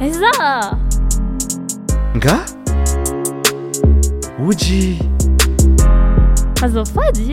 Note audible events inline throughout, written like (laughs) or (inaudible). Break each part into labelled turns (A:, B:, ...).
A: za
B: nga Woody
A: azafady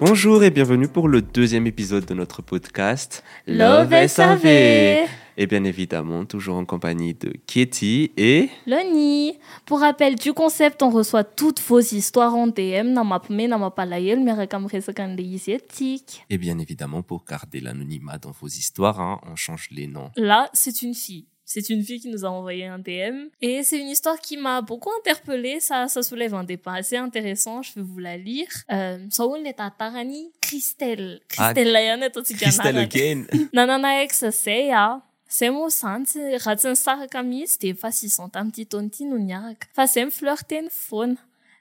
B: Bonjour et bienvenue pour le deuxième épisode de notre podcast Et bien évidemment, toujours en compagnie de Katie et...
A: Loni Pour rappel du concept, on reçoit toutes vos histoires en DM na mapime na mapalahelo miaraka amin'nresaka an'ilay izy éthique.
B: Et bien évidemment, pour garder l'anonymat dans vos histoires, hein, on change les noms.
A: Là, c'est une fille. C'est une fille qui nous a envoyé un DM. Et c'est une histoire qui m'a beaucoup interpellée. Ça, ça soulève un débat assez intéressant. Je vais vous la lire. Euh, Saoul est à Tarani. Christelle. Christelle Layan est aussi (laughs)
B: Christelle again
A: Nanana ex seya semo santsy raha tsy nisaraka mihitsy de fa sisy tamin'ny ty taony ity no niaraka fa zay miflirteny foana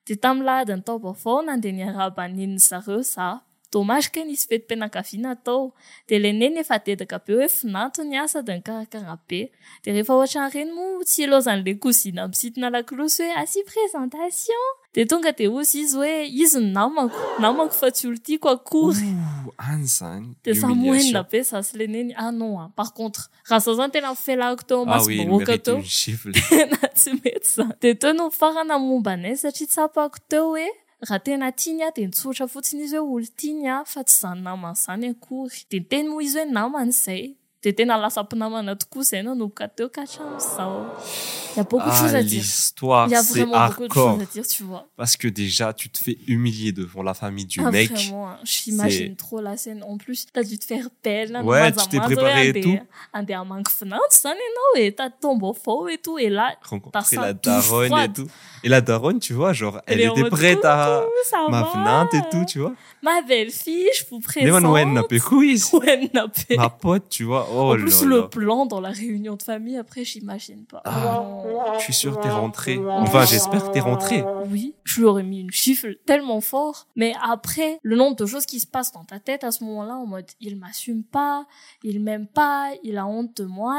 A: de tamin'ny lahadiny tao vaovao nandeha niarabanininy zareo za dommage ke nisy fetim-pianakaviana tao de le neny efa dedaka be hoe finato ny asa de nikarakara be de rehefa ohatra an'ireny moa tsy ilozan'le kozina misintona lakolosy hoe asy présentation de tonga de ozy izy hoe izy ny namako namako fa tsy olo tiako akory
B: Ouh, any zany
A: de za
B: l'humiliation.
A: mohenina be za sy le neny ah non hein. par contre raha za zany tena mifelahako teo
B: Ah oui, il
A: amasibahoaka
B: mérite
A: teo (laughs)
B: une gifle.
A: tena tsy mety zany de teo no farana momba anay satria tsapako teo hoe raha tena tiany ah de nitsotra fotsiny izy hoe olo tiany ah fa tsy zany namana zany akory de teny moa izy hoe namana zay de tena lasa mpinamana tokoa zay nanomboka teo ka hatramin'izao oh. y a beaucoup de choses à
B: Ah,
A: dire
B: l'histoire,
A: y a
B: c'est
A: vraiment beaucoup de choses
B: hardcore.
A: à dire tu vois
B: Parce que déjà, tu te fais humilier devant la famille du
A: Ah,
B: mec.
A: vraiment, hein. j'imagine trop la scène. En plus, t'as dû te faire belle. hein,
B: Ouais,
A: dans
B: tu t'es
A: Mazamazo,
B: préparée
A: un
B: et
A: des-
B: tout.
A: Un des amangues finances, ça, non, et t'as ton beau faux et tout. Et là, Par
B: Rencontrer
A: ça,
B: la
A: douche
B: daronne et
A: froide.
B: tout. Et la daronne, tu vois, genre, elle
A: est en
B: était
A: mode,
B: prête à
A: coucou, ça
B: ma
A: va euh,
B: venante et tout, tu vois.
A: Ma belle-fille, je vous
B: Mais
A: présente.
B: man, ouais, n'a pas
A: (laughs)
B: couilles.
A: Wen Napé.
B: Ma pote, tu vois. Oh
A: En
B: là
A: plus,
B: là.
A: le plan dans la réunion de famille, après, j'imagine pas.
B: Ah.
A: Non.
B: Je suis sûr que t'es rentré. Enfin, j'espère que t'es rentré.
A: Oui, je lui aurais mis une gifle tellement fort. Mais après, le nombre de choses qui se passent dans ta tête à ce moment-là, en mode, il m'assume pas, il m'aime pas, il a honte de moi.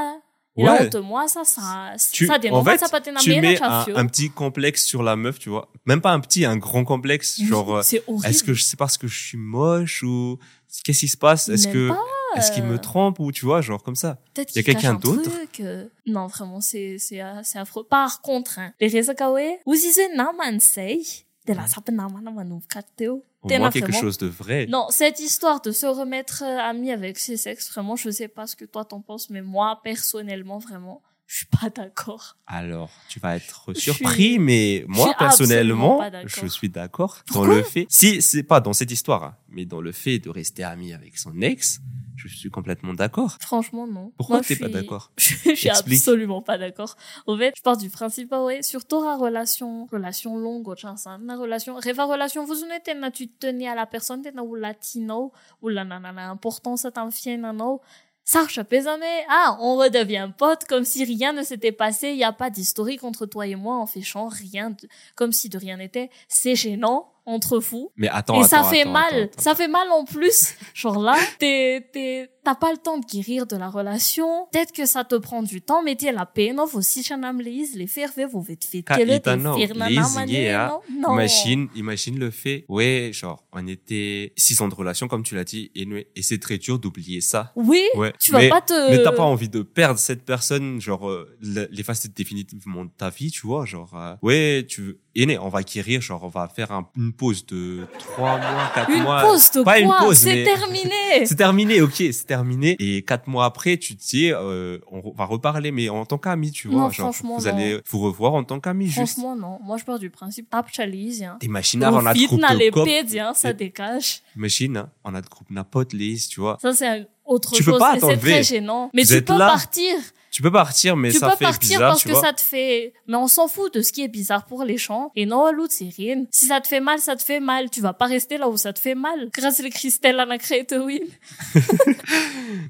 A: Il a
B: Ouais.
A: honte de moi, ça, ça,
B: Tu-
A: ça dénonce
B: en fait,
A: ça pas t'énerver,
B: Tu
A: là,
B: mets
A: tu as
B: un,
A: fait,
B: un petit complexe sur la meuf, tu vois. Même pas un petit, un grand complexe.
A: oh.
B: Genre, euh,
A: c'est horrible.
B: est-ce que je- c'est parce que je suis moche ou qu'est-ce qui se passe? Est-ce
A: Même
B: que,
A: pas,
B: est-ce qu'il
A: euh,
B: me trompe ou tu vois, genre comme ça?
A: Peut-être
B: Y a
A: qu'il
B: quelqu'un
A: cache un
B: d'autre
A: truc, euh, Non, vraiment, c'est, c'est, euh, c'est affreux. Par contre, hein, les Rezakawe, E, vous disiez Namansei, de la sape Namana Manou Kateo.
B: Au
A: T'es
B: moins
A: là
B: quelque
A: vraiment.
B: chose de vrai.
A: Non, cette histoire de se remettre euh, ami avec ses sexes, vraiment, je sais pas ce que toi t'en penses, mais moi, personnellement, vraiment, je suis pas d'accord.
B: Alors, tu vas être
A: Je
B: surpris,
A: suis-
B: mais moi,
A: absolument
B: personnellement,
A: pas d'accord.
B: je suis d'accord dans
A: Pourquoi
B: le fait, si c'est pas dans cette histoire, hein, mais dans le fait de rester ami avec son ex, je suis complètement d'accord.
A: Franchement, non.
B: Pourquoi
A: Moi,
B: t'es
A: je
B: pas
A: suis-
B: d'accord
A: Je (laughs) je suis
B: Explique.
A: absolument pas d'accord. En fait, je pars du principe, ah ouais, surtout la relation, relation longue, autre chose, hein, la relation, rêve à relation, vous en êtes, là, tu te tenais à la personne, t'es là, ou latino, ou la nanana, important, ça t'en fait, nano. Ça, je sais jamais. Ah, on redevient pote comme si rien ne s'était passé. Il n'y a pas d'historique entre toi et moi. On fait genre rien, de- comme si de rien n'était. C'est gênant entre vous.
B: Mais attends,
A: et
B: attends,
A: ça fait
B: attends,
A: mal,
B: attends, attends.
A: ça fait mal en plus. Genre là, t'es- t'es- t'as pas le temps de guérir de la relation. Peut-être que ça te prend du temps, mais t'es la peine. Vous si j'en am les les faire vous vous vite vite.
B: Ka
A: Quelle est
B: itano, les yeux, hein.
A: Non.
B: Imagine, imagine le fait, ouais, genre, on était six ans de relation, comme tu l'as dit, et, nous- et c'est très dur d'oublier ça.
A: Oui.
B: Ouais.
A: Tu vas
B: mais,
A: pas te.
B: mais t'as pas envie de perdre cette personne, genre, euh, l- l'effacer définitivement de ta vie, tu vois, genre, euh, ouais, tu veux, et né, on va acquérir, genre, on va faire un- une pause de trois mois, quatre
A: Une
B: mois.
A: pause de quoi
B: pas une pause,
A: C'est
B: mais-
A: terminé.
B: (laughs) C'est terminé, ok, c'est terminé. Et quatre mois après, tu te dis, euh, on re- va reparler, mais en tant qu'ami, tu vois,
A: Non,
B: genre,
A: franchement,
B: vous
A: non.
B: allez vous revoir en tant qu'ami, juste.
A: Franchement non. Moi je pars du principe absolument. Hein.
B: Des machines,
A: Au
B: on a de
A: fit,
B: groupe
A: n'a
B: de
A: les
B: copes.
A: pédies, hein, ça
B: Et-
A: dégage.
B: Machine, hein, on a de groupe n'a pote, Lise, tu vois.
A: Ça c'est un- autre
B: Tu peux
A: chose.
B: pas
A: et c'est
B: t'enlever.
A: très gênant. Mais
B: Vous
A: tu
B: êtes
A: peux
B: là.
A: partir.
B: Tu peux partir, mais
A: tu
B: ça
A: peux
B: fait
A: partir
B: bizarre,
A: parce
B: tu
A: que
B: vois.
A: ça te fait mais on s'en fout de ce qui est bizarre pour les gens et non l'autre c'est rien si ça te fait mal ça te fait mal tu vas pas rester là où ça te fait mal grâce à Christelle à la créate oui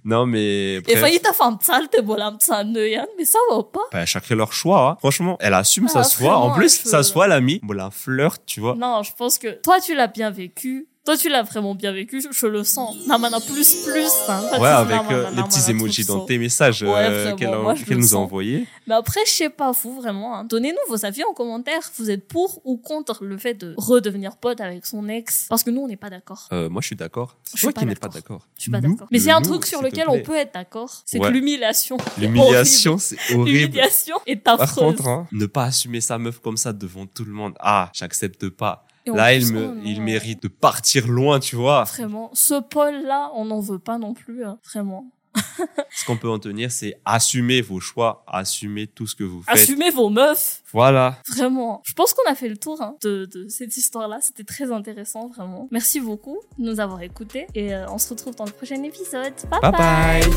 B: Non, mais
A: et
B: bref,
A: failli ta femme sale te bolam mais ça va pas
B: bah, chacun leur choix. hein. Franchement, elle assume
A: Ah,
B: sa soie. En
A: vraiment,
B: plus,
A: je-
B: Oh. sa soie, l'ami, bon, la flirte, tu vois.
A: non je pense que toi tu l'as bien vécu Toi, tu l'as vraiment bien vécu, je, je le sens. Namana plus plus. Hein, pas
B: Ouais,
A: tous
B: avec
A: namana,
B: euh, les
A: namana
B: petits
A: tout
B: emojis
A: ça.
B: dans tes messages
A: Ouais,
B: euh,
A: vraiment,
B: qu'elle a-
A: moi, je
B: qu'elle
A: le
B: nous a
A: sens.
B: envoyés.
A: Mais après, je sais pas, vous vraiment, hein. donnez-nous vos avis en commentaire. Vous êtes pour ou contre le fait de redevenir pote avec son ex Parce que nous, on n'est pas d'accord.
B: Euh, moi, je suis d'accord.
A: Je
B: C'est
A: suis
B: toi
A: pas
B: qui n'es pas
A: d'accord.
B: d'accord.
A: Je suis pas
B: Nous,
A: d'accord. Mais
B: le
A: il y a un
B: nous,
A: truc sur
B: s'il te
A: lequel on
B: plaît.
A: peut être d'accord, c'est
B: Ouais.
A: que l'humiliation. est
B: L'humiliation, c'est
A: horrible.
B: horrible.
A: L'humiliation est affreuse.
B: Par contre, hein, ne pas assumer sa meuf comme ça devant tout le monde. Ah, j'accepte pas.
A: Et en
B: Là,
A: plus,
B: il,
A: oh
B: me,
A: non.
B: il mérite de partir loin, tu vois.
A: Vraiment, ce Paul-là, on n'en veut pas non plus, hein. vraiment.
B: Ce qu'on peut en tenir, c'est assumer vos choix, assumer tout ce que vous faites.
A: Assumez vos meufs,
B: Voilà.
A: vraiment. Je pense qu'on a fait le tour hein, de, de cette histoire-là, c'était très intéressant, vraiment. Merci beaucoup de nous avoir écoutés et euh, on se retrouve dans le prochain épisode.
B: bye. bye.